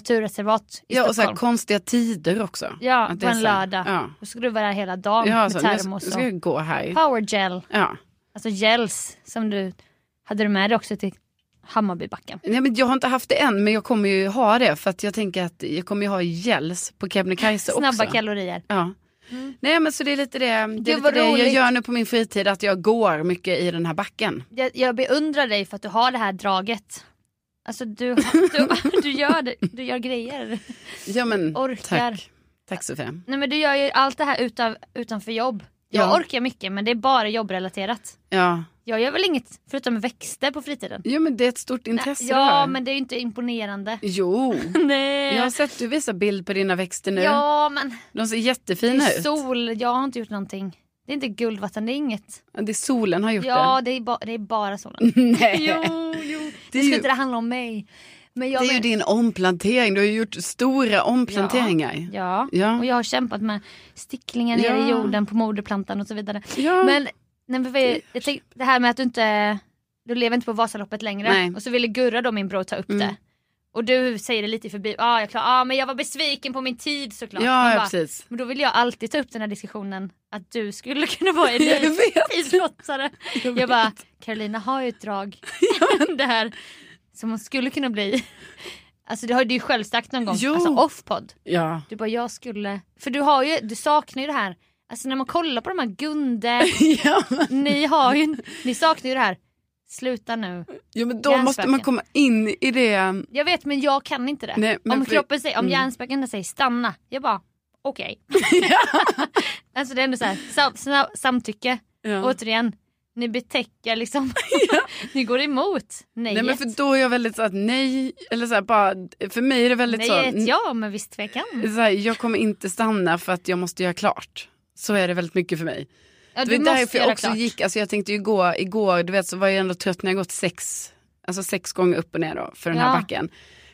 Speaker 1: naturreservat i
Speaker 2: Ja, och så
Speaker 1: Stockholm.
Speaker 2: här konstiga tider också.
Speaker 1: ja,
Speaker 2: Att det
Speaker 1: på
Speaker 2: är
Speaker 1: en
Speaker 2: så här-
Speaker 1: lördag.
Speaker 2: Ja,
Speaker 1: Då ska du vara där hela dagen
Speaker 2: ja
Speaker 1: med
Speaker 2: så, nu
Speaker 1: termos
Speaker 2: ska
Speaker 1: och
Speaker 2: jag gå här.
Speaker 1: power gel.
Speaker 2: Ja.
Speaker 1: Alltså gels som du hade du med dig också till Hammarbybacken.
Speaker 2: Nej, men jag har inte haft det än men jag kommer ju ha det för att jag tänker att jag kommer ju ha gels på Kebnekaise också.
Speaker 1: Snabba kalorier.
Speaker 2: Ja. Nej men så det är lite det, det, är lite
Speaker 1: Mm. vad
Speaker 2: det jag
Speaker 1: roligt.
Speaker 2: gör nu på min fritid, att jag går mycket i den här backen.
Speaker 1: Jag, jag beundrar dig för att du har det här draget. Alltså
Speaker 2: *laughs*
Speaker 1: du, du, du, gör, det, du gör grejer.
Speaker 2: Ja men
Speaker 1: Orkar.
Speaker 2: tack. Tack Sofia.
Speaker 1: Nej men du gör ju allt det här utan, utanför jobb. Jag
Speaker 2: Ja.
Speaker 1: orkar mycket men det är bara jobbrelaterat.
Speaker 2: Ja.
Speaker 1: Jag gör väl inget förutom växter på fritiden.
Speaker 2: Jo men det är ett stort intresse du
Speaker 1: ja
Speaker 2: har.
Speaker 1: men det är ju inte imponerande.
Speaker 2: Jo,
Speaker 1: Nej.
Speaker 2: jag har sett du visar bild på dina växter nu.
Speaker 1: Ja men
Speaker 2: De ser
Speaker 1: det
Speaker 2: jättefina
Speaker 1: är
Speaker 2: ut.
Speaker 1: sol, jag har inte gjort någonting. Det är inte guldvatten, det är inget.
Speaker 2: Ja, Det är solen har gjort
Speaker 1: Ja det är, ba- det är bara solen.
Speaker 2: det. *laughs* Nej.
Speaker 1: jo, jo.
Speaker 2: Det
Speaker 1: Det
Speaker 2: är
Speaker 1: skulle
Speaker 2: ju-
Speaker 1: inte det handla om mig. Men jag
Speaker 2: Det är ju
Speaker 1: men-
Speaker 2: din omplantering, du har ju gjort stora omplanteringar.
Speaker 1: Ja.
Speaker 2: Ja.
Speaker 1: och jag har kämpat med sticklingar nere
Speaker 2: Ja.
Speaker 1: i jorden på moderplantan och så vidare.
Speaker 2: Ja.
Speaker 1: Men, nej, men vad är- jag tänk, det här med att du inte du lever inte på Vasaloppet längre
Speaker 2: Nej. Mm.
Speaker 1: och så ville Gurra då min bror ta upp det. Och du säger det lite förbi, ja ah, jag klar, ah, men jag var besviken på min tid såklart. Man
Speaker 2: ja, ja
Speaker 1: bara,
Speaker 2: precis.
Speaker 1: men då vill jag alltid ta upp den här diskussionen att du skulle *laughs* kunna vara
Speaker 2: *laughs* Jag vet.
Speaker 1: elitidrottare. Jag, jag bara, Carolina har ju ett
Speaker 2: *laughs*
Speaker 1: drag *laughs* det här som hon skulle kunna bli. Alltså det har du ju själv sagt någon gång,
Speaker 2: Jo.
Speaker 1: alltså off-podd.
Speaker 2: *laughs* Ja. *laughs*
Speaker 1: Du bara jag skulle, för du har ju, du saknar ju det här. Alltså när man kollar på de här
Speaker 2: *laughs*
Speaker 1: Gunde,
Speaker 2: ja, men,
Speaker 1: ni har ju, ni saknar ju det här. Sluta nu.
Speaker 2: ja, men då måste man
Speaker 1: Hjärnspöken.
Speaker 2: komma in i det.
Speaker 1: Jag vet men jag kan inte det.
Speaker 2: Nej, men
Speaker 1: om
Speaker 2: för- Mm.
Speaker 1: kroppen säger, om hjärnspöken säger stanna, jag bara okej.
Speaker 2: *laughs*
Speaker 1: *laughs* alltså det är ändå så här, sam, sam, samtycke.
Speaker 2: Ja.
Speaker 1: Återigen, ni betäcker
Speaker 2: *laughs*
Speaker 1: liksom. ni går emot nej.
Speaker 2: Nej men för då är jag väldigt så att nej, eller så här, bara, för mig är det väldigt
Speaker 1: nej
Speaker 2: så,
Speaker 1: ett ja men visst tvekan.
Speaker 2: n- så här, jag kommer inte stanna för att jag måste göra klart. Så är det väldigt mycket för mig.
Speaker 1: Ja, du
Speaker 2: det var
Speaker 1: måste
Speaker 2: därför jag
Speaker 1: göra
Speaker 2: också
Speaker 1: klart.
Speaker 2: gick, alltså jag tänkte ju gå igår, du vet så var jag ändå trött när jag gått sex, alltså sex gånger upp och ner då för den här
Speaker 1: Ja.
Speaker 2: backen.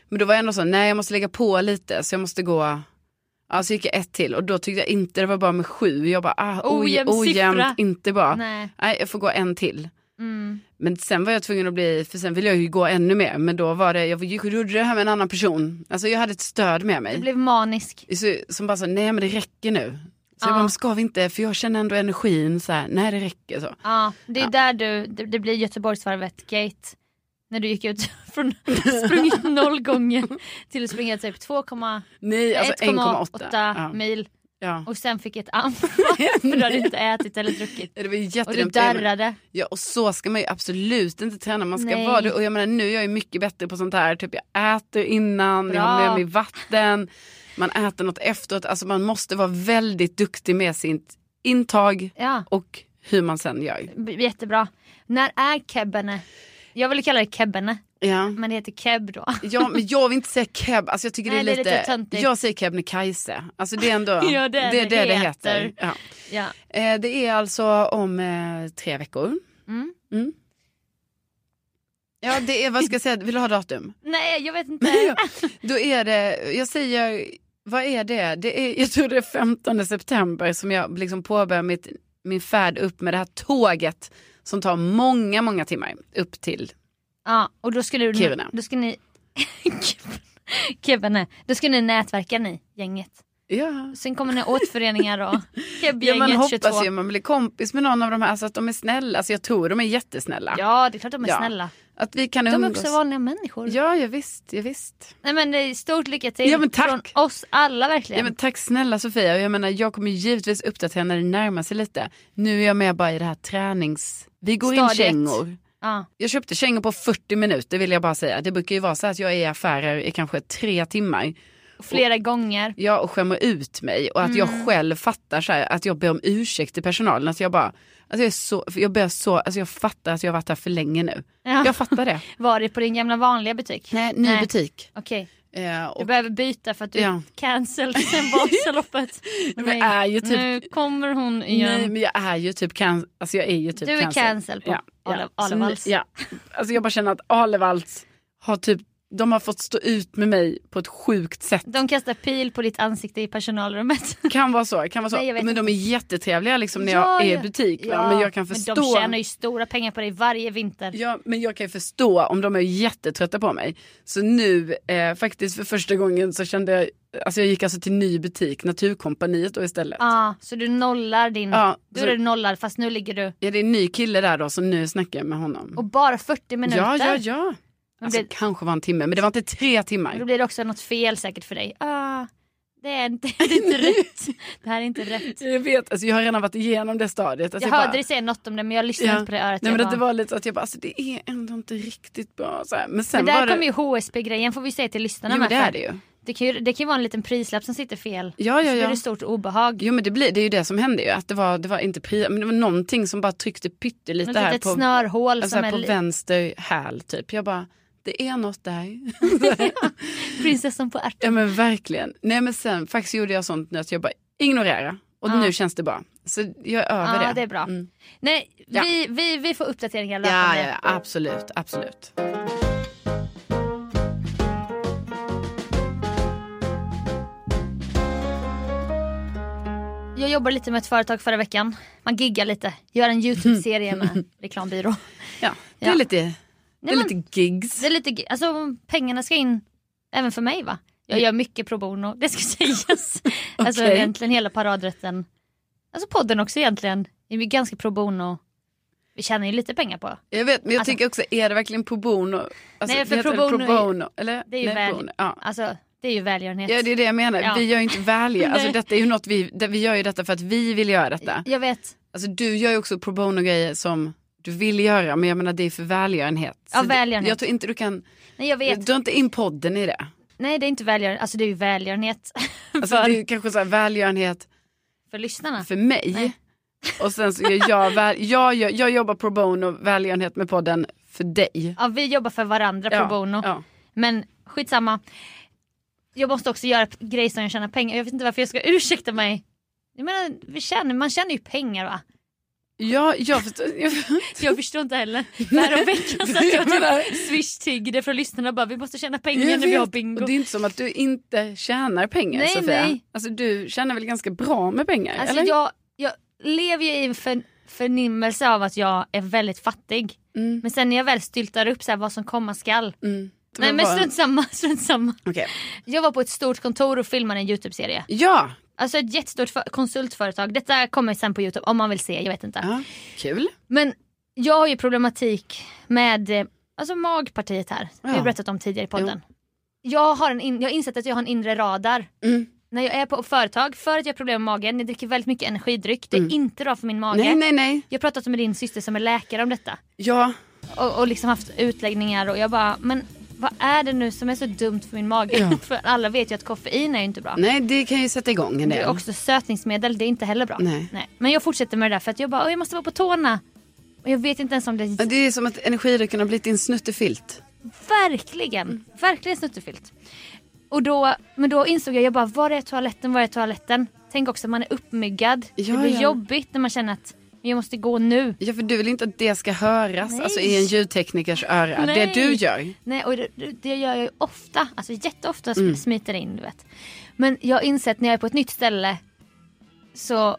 Speaker 2: Men då var jag ändå så, nej jag måste lägga på lite så jag måste gå, alltså gick jag ett till och då tyckte jag inte det var bra med sju, jag bara ah, oj,
Speaker 1: Ojämn siffra.
Speaker 2: ojämnt, inte bra. Nej.
Speaker 1: Nej.
Speaker 2: jag får gå en till.
Speaker 1: Mm.
Speaker 2: Men sen var jag tvungen att bli, för sen ville jag ju gå ännu mer, men då var det, jag gick och gjorde det här med en annan person. Alltså jag hade ett stöd med mig.
Speaker 1: Du blev manisk.
Speaker 2: Så, som bara sa, nej men det räcker nu. Så jag
Speaker 1: Ja.
Speaker 2: bara, "Men ska vi inte, för jag känner ändå energin så här, nej det räcker så.
Speaker 1: Ja, det är där du, det, det blir Göteborgsvarvet gate. När du gick ut *laughs*
Speaker 2: *laughs*
Speaker 1: från sprungit noll gånger till att springa typ 2,1,8
Speaker 2: Nej, alltså 1,8. Ja.
Speaker 1: mil
Speaker 2: Ja.
Speaker 1: och sen fick ett *laughs* anfall *laughs* för du hade inte ätit eller druckit.
Speaker 2: Det var ju
Speaker 1: Och du
Speaker 2: jättedumt.
Speaker 1: darrade.
Speaker 2: Ja, och så ska man ju absolut inte träna. Man ska
Speaker 1: Nej.
Speaker 2: vara det. Och jag menar nu är jag ju mycket bättre på sånt här. Typ jag äter innan, jag
Speaker 1: Bra.
Speaker 2: har med mig vatten. Man äter något efteråt. Alltså man måste vara väldigt duktig med sitt intag
Speaker 1: Ja,
Speaker 2: och hur man sen gör.
Speaker 1: b- jättebra. När är kebbene? Jag vill kalla det kebbene,
Speaker 2: Ja.
Speaker 1: men det heter keb då.
Speaker 2: Ja, men jag vill inte säga keb. Alltså jag tycker
Speaker 1: Nej,
Speaker 2: det är
Speaker 1: det är
Speaker 2: lite...
Speaker 1: lite töntigt.
Speaker 2: jag säger Kebnekaise. Alltså det är
Speaker 1: *laughs*
Speaker 2: ändå...
Speaker 1: Ja, det är
Speaker 2: det,
Speaker 1: det
Speaker 2: det, det
Speaker 1: heter.
Speaker 2: heter. Ja.
Speaker 1: Ja.
Speaker 2: Eh, det är alltså om eh, tre veckor.
Speaker 1: Mm.
Speaker 2: Mm. Ja, det är... Vad ska jag säga? Vill du
Speaker 1: *laughs*
Speaker 2: ha datum? *laughs*
Speaker 1: Nej, jag vet inte.
Speaker 2: Ja. Då är det... Jag säger... Vad är det? det är, jag tror det är 15 september som jag liksom påbörjar mitt, min färd upp med det här tåget som tar många, många timmar upp till...
Speaker 1: Ja, och då skulle, du, *laughs*
Speaker 2: Kiruna.
Speaker 1: då skulle ni... Kebbene. Då skulle ni nätverka ni, gänget.
Speaker 2: Ja.
Speaker 1: Sen kommer det återföreningar och
Speaker 2: *laughs* Ja, man
Speaker 1: kebbgänget
Speaker 2: hoppas
Speaker 1: 22.
Speaker 2: ju man blir kompis med någon av de här, alltså att de är snälla. Alltså jag tror de är jättesnälla.
Speaker 1: Ja, det är klart de är
Speaker 2: Ja.
Speaker 1: snälla.
Speaker 2: Att vi kan
Speaker 1: De är
Speaker 2: umgås.
Speaker 1: också vanliga människor.
Speaker 2: Ja, ja visst, ja, visst.
Speaker 1: Nej, men det är stort lycka till
Speaker 2: Ja, men tack.
Speaker 1: från oss alla verkligen.
Speaker 2: Ja, men tack snälla Sofia. Och Jag, menar, jag kommer givetvis uppdatera när det närmar sig lite. Nu är jag med bara i det här tränings... Vi går in
Speaker 1: Stadiet.
Speaker 2: kängor.
Speaker 1: Ja.
Speaker 2: Jag köpte kängor på 40 minuter vill jag bara säga. Det brukar ju vara så att jag är i affärer i kanske tre timmar.
Speaker 1: Och Flera gånger.
Speaker 2: Ja, och skämmer ut mig och att jag
Speaker 1: Mm.
Speaker 2: själv fattar så här, att jag ber om ursäkt till personalen. Att jag bara, alltså jag är så, för jag ber så, alltså jag fattar att jag har varit här för länge nu.
Speaker 1: Ja.
Speaker 2: Jag fattar det.
Speaker 1: Var det på din gamla vanliga butik?
Speaker 2: Nej, ny
Speaker 1: Nej.
Speaker 2: butik.
Speaker 1: Okej,
Speaker 2: Eh,
Speaker 1: du
Speaker 2: och,
Speaker 1: behöver byta för att du
Speaker 2: Ja.
Speaker 1: är cancelled sen
Speaker 2: *laughs*
Speaker 1: Vasaloppet.
Speaker 2: men jag är ju typ-
Speaker 1: Nu kommer hon
Speaker 2: nej,
Speaker 1: igen.
Speaker 2: men jag är ju typ can, alltså jag är ju typ
Speaker 1: du är cancel på
Speaker 2: Ja,
Speaker 1: Ale-
Speaker 2: Så nu-
Speaker 1: Alevalls.
Speaker 2: Ja. Alltså jag bara känner att Alevalls har typ, de har fått stå ut med mig på ett sjukt sätt.
Speaker 1: De kastar pil på ditt ansikte i personalrummet.
Speaker 2: Kan vara så, kan vara
Speaker 1: *laughs*
Speaker 2: så.
Speaker 1: Nej, jag vet
Speaker 2: men de är jättetrevliga liksom när
Speaker 1: Ja,
Speaker 2: jag är i
Speaker 1: ja.
Speaker 2: butik. Va? Men jag kan förstå.
Speaker 1: Men de tjänar ju stora pengar på dig varje vinter.
Speaker 2: Ja, men jag kan ju förstå om de är jättetrötta på mig. Så nu, eh, faktiskt för första gången så kände jag, alltså jag gick alltså till ny butik, Naturkompaniet då istället.
Speaker 1: Ja, så du nollar din...
Speaker 2: Ja,
Speaker 1: du
Speaker 2: så-
Speaker 1: är nollad fast nu ligger du...
Speaker 2: Ja, det är en ny kille där då, så nu snackar jag med honom.
Speaker 1: Och bara 40 minuter.
Speaker 2: ja, ja, ja. Alltså
Speaker 1: blir-
Speaker 2: kanske var en timme, men det var inte tre
Speaker 1: Och Då
Speaker 2: timmar.
Speaker 1: blir det också något fel säkert för dig. Ah, det, är inte, det
Speaker 2: *laughs*
Speaker 1: är inte rätt. Det här är inte rätt.
Speaker 2: Jag vet, alltså jag har redan varit igenom det stadiet. Alltså
Speaker 1: Jag
Speaker 2: bara-
Speaker 1: hörde dig säga något om det men jag lyssnade
Speaker 2: Ja.
Speaker 1: inte på det örat.
Speaker 2: Nej, men
Speaker 1: jag
Speaker 2: att det var lite så att jag bara, alltså det är ändå inte riktigt bra. Så här. Men sen
Speaker 1: men där
Speaker 2: var det...
Speaker 1: kommer ju HSB-grejen får vi säga till lyssnarna.
Speaker 2: Jo, men
Speaker 1: med,
Speaker 2: det
Speaker 1: för
Speaker 2: är det ju.
Speaker 1: Det kan, ju, det kan ju vara en liten prislapp som sitter fel.
Speaker 2: Ja, ja,
Speaker 1: Så blir
Speaker 2: ja.
Speaker 1: det stort obehag.
Speaker 2: Jo men det, blir, det är ju det som händer ju. Att det var, det var inte pri- men det var någonting som bara tryckte
Speaker 1: Något
Speaker 2: pyttelite här
Speaker 1: litet
Speaker 2: på,
Speaker 1: snörhål
Speaker 2: alltså
Speaker 1: som
Speaker 2: här
Speaker 1: är
Speaker 2: på
Speaker 1: li-
Speaker 2: vänster häl typ. Jag bara, det är något där.
Speaker 1: prinsessan på ärten.
Speaker 2: ja men verkligen. Nej men sen faktiskt gjorde jag sånt nu att jag bara ignorera. Och nu känns det bra. Så jag är
Speaker 1: Ja,
Speaker 2: över det. mm.
Speaker 1: det är bra. Nej,
Speaker 2: Ja.
Speaker 1: vi, vi, vi får uppdateringar
Speaker 2: Ja,
Speaker 1: löpande.
Speaker 2: ja, ja, absolut, absolut.
Speaker 1: Jag jobbade lite med ett företag förra veckan. Man giggar lite, gör en YouTube-serie
Speaker 2: *laughs*
Speaker 1: med reklambyrå.
Speaker 2: Ja, det är
Speaker 1: Ja.
Speaker 2: lite, det är
Speaker 1: men-
Speaker 2: lite gigs.
Speaker 1: Det är lite, alltså pengarna ska in även för mig va? Jag gör mycket pro bono, det ska *laughs* sägas. Alltså
Speaker 2: Okej.
Speaker 1: egentligen hela paradrätten. Alltså podden också egentligen. Det är ju ganska pro bono. Vi tjänar ju lite pengar på.
Speaker 2: Jag vet, men jag
Speaker 1: Alltså-
Speaker 2: tycker också, är det verkligen pro bono? Alltså,
Speaker 1: Nej, för
Speaker 2: heter det
Speaker 1: pro bono
Speaker 2: pro
Speaker 1: är-
Speaker 2: bono eller?
Speaker 1: det är ju
Speaker 2: Nej,
Speaker 1: väl-
Speaker 2: bono, Ja.
Speaker 1: Alltså det är ju välgörenhet.
Speaker 2: ja, det är det jag menar.
Speaker 1: Ja.
Speaker 2: Vi gör ju
Speaker 1: *laughs*
Speaker 2: inte välja. Alltså,
Speaker 1: Nej.
Speaker 2: detta är ju något vi, det- vi gör ju detta för att vi vill göra detta.
Speaker 1: Jag vet,
Speaker 2: Alltså, du gör ju också pro bono-grejer som du vill göra, men jag menar det är för välgörenhet.
Speaker 1: Ja,
Speaker 2: Så det-
Speaker 1: välgörenhet.
Speaker 2: Jag tror inte du kan,
Speaker 1: nej jag vet.
Speaker 2: dra inte in podden i det.
Speaker 1: Nej det är inte välgörenhet, alltså det är ju välgörenhet
Speaker 2: Alltså,
Speaker 1: för,
Speaker 2: Det är ju kanske så här välgörenhet
Speaker 1: för lyssnarna.
Speaker 2: för mig.
Speaker 1: Nej.
Speaker 2: Och sen så gör jag, väl, jag, gör, jag jobbar pro bono, välgörenhet med podden för dig.
Speaker 1: Ja vi jobbar för varandra pro bono.
Speaker 2: Ja.
Speaker 1: Men skitsamma. Jag måste också göra p- grejer som jag tjänar pengar. Jag vet inte varför jag ska ursäkta mig. Jag menar, vi tjänar, man tjänar ju pengar va?
Speaker 2: Ja, jag förstår. Jag,
Speaker 1: Jag förstår inte heller. Förra veckan satt jag
Speaker 2: *laughs* Jag menar-
Speaker 1: typ swish-tiggde från lyssnarna och bara vi måste tjäna pengar
Speaker 2: Jag
Speaker 1: när vi har
Speaker 2: vet.
Speaker 1: bingo.
Speaker 2: *laughs* Och det är inte som att du inte tjänar pengar
Speaker 1: Nej,
Speaker 2: Sofia.
Speaker 1: nej.
Speaker 2: Alltså du tjänar väl ganska bra med pengar?
Speaker 1: Alltså
Speaker 2: eller?
Speaker 1: jag, jag lever ju i en för, förnimmelse av att jag är väldigt fattig.
Speaker 2: Mm.
Speaker 1: Men sen när jag väl styltar upp så här vad som komma skall.
Speaker 2: Mm. Det
Speaker 1: Nej
Speaker 2: var
Speaker 1: men
Speaker 2: bara-
Speaker 1: strunt samma, *laughs* strunt samma.
Speaker 2: Okej.
Speaker 1: Jag var på ett stort kontor och filmade en Youtube-serie.
Speaker 2: Ja.
Speaker 1: Alltså ett jättestort för- konsultföretag. Detta kommer sen på Youtube om man vill se, jag vet inte.
Speaker 2: ja, kul.
Speaker 1: Men jag har ju problematik med eh, alltså magpartiet här. Det har
Speaker 2: Ja.
Speaker 1: jag berättat om tidigare i podden. Jag har, en in, jag har insett att jag har en inre radar.
Speaker 2: Mm.
Speaker 1: När jag är på företag, för att jag har problem med magen, jag dricker väldigt mycket energidryck. Det är inte bra för min mage.
Speaker 2: Mm. Nej, nej, nej.
Speaker 1: Jag har pratat med din syster som är läkare om detta.
Speaker 2: Ja,
Speaker 1: Och, och liksom haft utläggningar och jag bara, men vad är det nu som är så dumt för min mage?
Speaker 2: Ja.
Speaker 1: *laughs* för alla vet ju att koffein är ju inte bra.
Speaker 2: nej det kan ju sätta igång en
Speaker 1: Det
Speaker 2: del.
Speaker 1: är också sötningsmedel, det är inte heller bra.
Speaker 2: Nej.
Speaker 1: Men jag fortsätter med det där för att jag bara, "Åh, jag måste vara på tårna. Och jag vet inte ens om det
Speaker 2: Ja, Det är som att energidrycken har blivit din snuttefilt.
Speaker 1: Verkligen, verkligen snuttefilt. Och då, men då insåg jag, jag bara, var är toaletten, var är toaletten? Tänk också man är uppmyggad.
Speaker 2: Ja,
Speaker 1: det blir
Speaker 2: ja.
Speaker 1: jobbigt när man känner att jag måste gå nu.
Speaker 2: Ja, för du vill inte att det ska höras
Speaker 1: Nej.
Speaker 2: alltså, i en ljudteknikers öra.
Speaker 1: Nej.
Speaker 2: Det du gör.
Speaker 1: Nej, och det, det gör jag ju ofta, alltså jätteofta
Speaker 2: Mm.
Speaker 1: sm- smiter det in du vet. Men jag har insett när jag är på ett nytt ställe så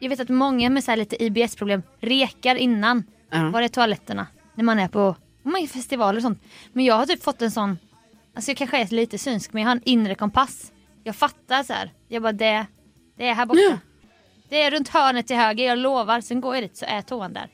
Speaker 1: jag vet att många med så här lite IBS-problem rekar innan.
Speaker 2: Ja.
Speaker 1: Var är toaletterna? När man är på man är festivaler och sånt. Men jag har typ fått en sån, alltså jag kanske är lite synsk men jag har en inre kompass. Jag fattar så här. Jag bara det, det är här borta.
Speaker 2: Ja.
Speaker 1: Det är runt hörnet till höger, jag lovar. Sen går jag dit så är toan där.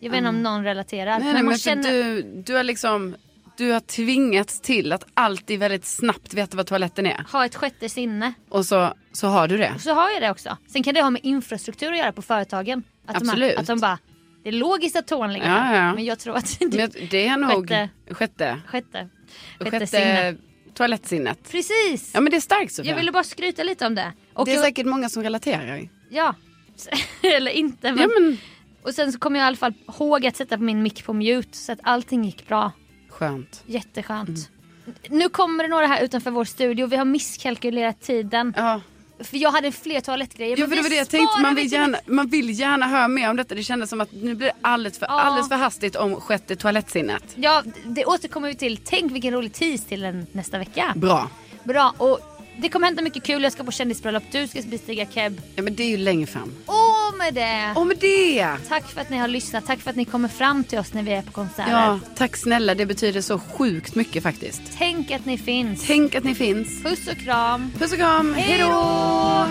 Speaker 1: Jag vet inte om någon relaterar.
Speaker 2: Mm.
Speaker 1: men
Speaker 2: Nej, nej,
Speaker 1: man
Speaker 2: men för
Speaker 1: känner,
Speaker 2: du, du har liksom du har tvingats till att alltid väldigt snabbt veta var toaletten är.
Speaker 1: ha ett sjätte sinne.
Speaker 2: Och så, så har du det.
Speaker 1: Och så har jag det också. Sen kan det ha med infrastruktur att göra på företagen. Att De,
Speaker 2: Absolut.
Speaker 1: att de bara, det är logiskt att toan ligger
Speaker 2: Ja,
Speaker 1: här.
Speaker 2: ja, ja.
Speaker 1: Men jag tror att *laughs* det är
Speaker 2: Men jag- det är nog
Speaker 1: Sjätte.
Speaker 2: sjätte, sjätte,
Speaker 1: sjätte, sjätte,
Speaker 2: sjätte
Speaker 1: sinne.
Speaker 2: toalettsinnet.
Speaker 1: Precis!
Speaker 2: Ja men det är starkt Sofia.
Speaker 1: jag ville bara skryta lite om det. Och
Speaker 2: det är
Speaker 1: jag,
Speaker 2: säkert många som relaterar.
Speaker 1: Ja. *laughs* Eller inte. Men,
Speaker 2: Ja men
Speaker 1: Och sen så kom jag i alla fall ihåg att sätta min mick på mute. Så att allting gick bra.
Speaker 2: skönt.
Speaker 1: Jätteskönt.
Speaker 2: Mm.
Speaker 1: Nu kommer det några här utanför vår studio. Vi har misskalkylerat tiden.
Speaker 2: Ja.
Speaker 1: För jag hade fler toalettgrejer.
Speaker 2: Ja,
Speaker 1: men
Speaker 2: för
Speaker 1: vi
Speaker 2: det var det jag tänkte.
Speaker 1: sparar
Speaker 2: Man
Speaker 1: det liksom
Speaker 2: vill,
Speaker 1: till-
Speaker 2: gärna, man vill gärna höra mer om detta. Det kändes som att nu blir det alldeles för,
Speaker 1: Ja.
Speaker 2: alldeles för hastigt om sjätte toalettsinnet.
Speaker 1: Ja, det återkommer vi till. Tänk vilken rolig tease till den nästa vecka.
Speaker 2: Bra.
Speaker 1: Bra. Och det kommer hända mycket kul. Jag ska på kändisbröllop. Du ska bestiga keb.
Speaker 2: Ja men det är ju längre fram.
Speaker 1: Och med det.
Speaker 2: Om det!
Speaker 1: Tack för att ni har lyssnat. Tack för att ni kommer fram till oss när vi är på konserter.
Speaker 2: Ja, tack snälla. Det betyder så sjukt mycket faktiskt.
Speaker 1: Tänk att ni finns.
Speaker 2: Tänk att ni finns.
Speaker 1: Puss och kram.
Speaker 2: Puss och kram. Hej då!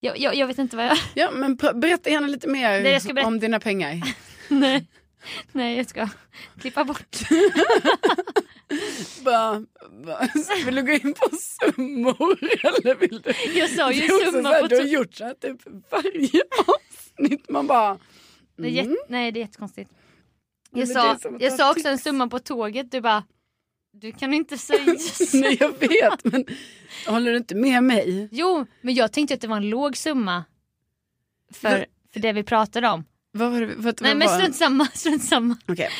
Speaker 1: Jag, jag, jag vet inte vad jag... *laughs*
Speaker 2: Ja, men pr- berätta gärna lite mer
Speaker 1: Det jag ska berätta-
Speaker 2: om dina pengar.
Speaker 1: *laughs* Nej. Nej, jag ska klippa bort. *laughs*
Speaker 2: Bara, bara, vill du gå in på summor eller vill du?
Speaker 1: Jag sa ju
Speaker 2: Det är också
Speaker 1: summa
Speaker 2: så här,
Speaker 1: på
Speaker 2: Du har
Speaker 1: to-
Speaker 2: gjort så här typ varje avsnitt. Man bara... mm.
Speaker 1: Det är jätt... Nej, det är jättekonstigt. Jag
Speaker 2: men det
Speaker 1: sa,
Speaker 2: är som att
Speaker 1: jag
Speaker 2: ha
Speaker 1: sa också en summa på tåget. Du bara... Du kan ju inte säga
Speaker 2: *laughs*
Speaker 1: så.
Speaker 2: *laughs* Nej jag vet men håller du inte med mig?
Speaker 1: Jo, men jag tänkte att det var en låg summa. För, för det vi pratade om.
Speaker 2: Vad var det? Vad,
Speaker 1: Nej,
Speaker 2: vad
Speaker 1: men
Speaker 2: var
Speaker 1: *laughs* strunt samma. Strunt samma.
Speaker 2: Okej.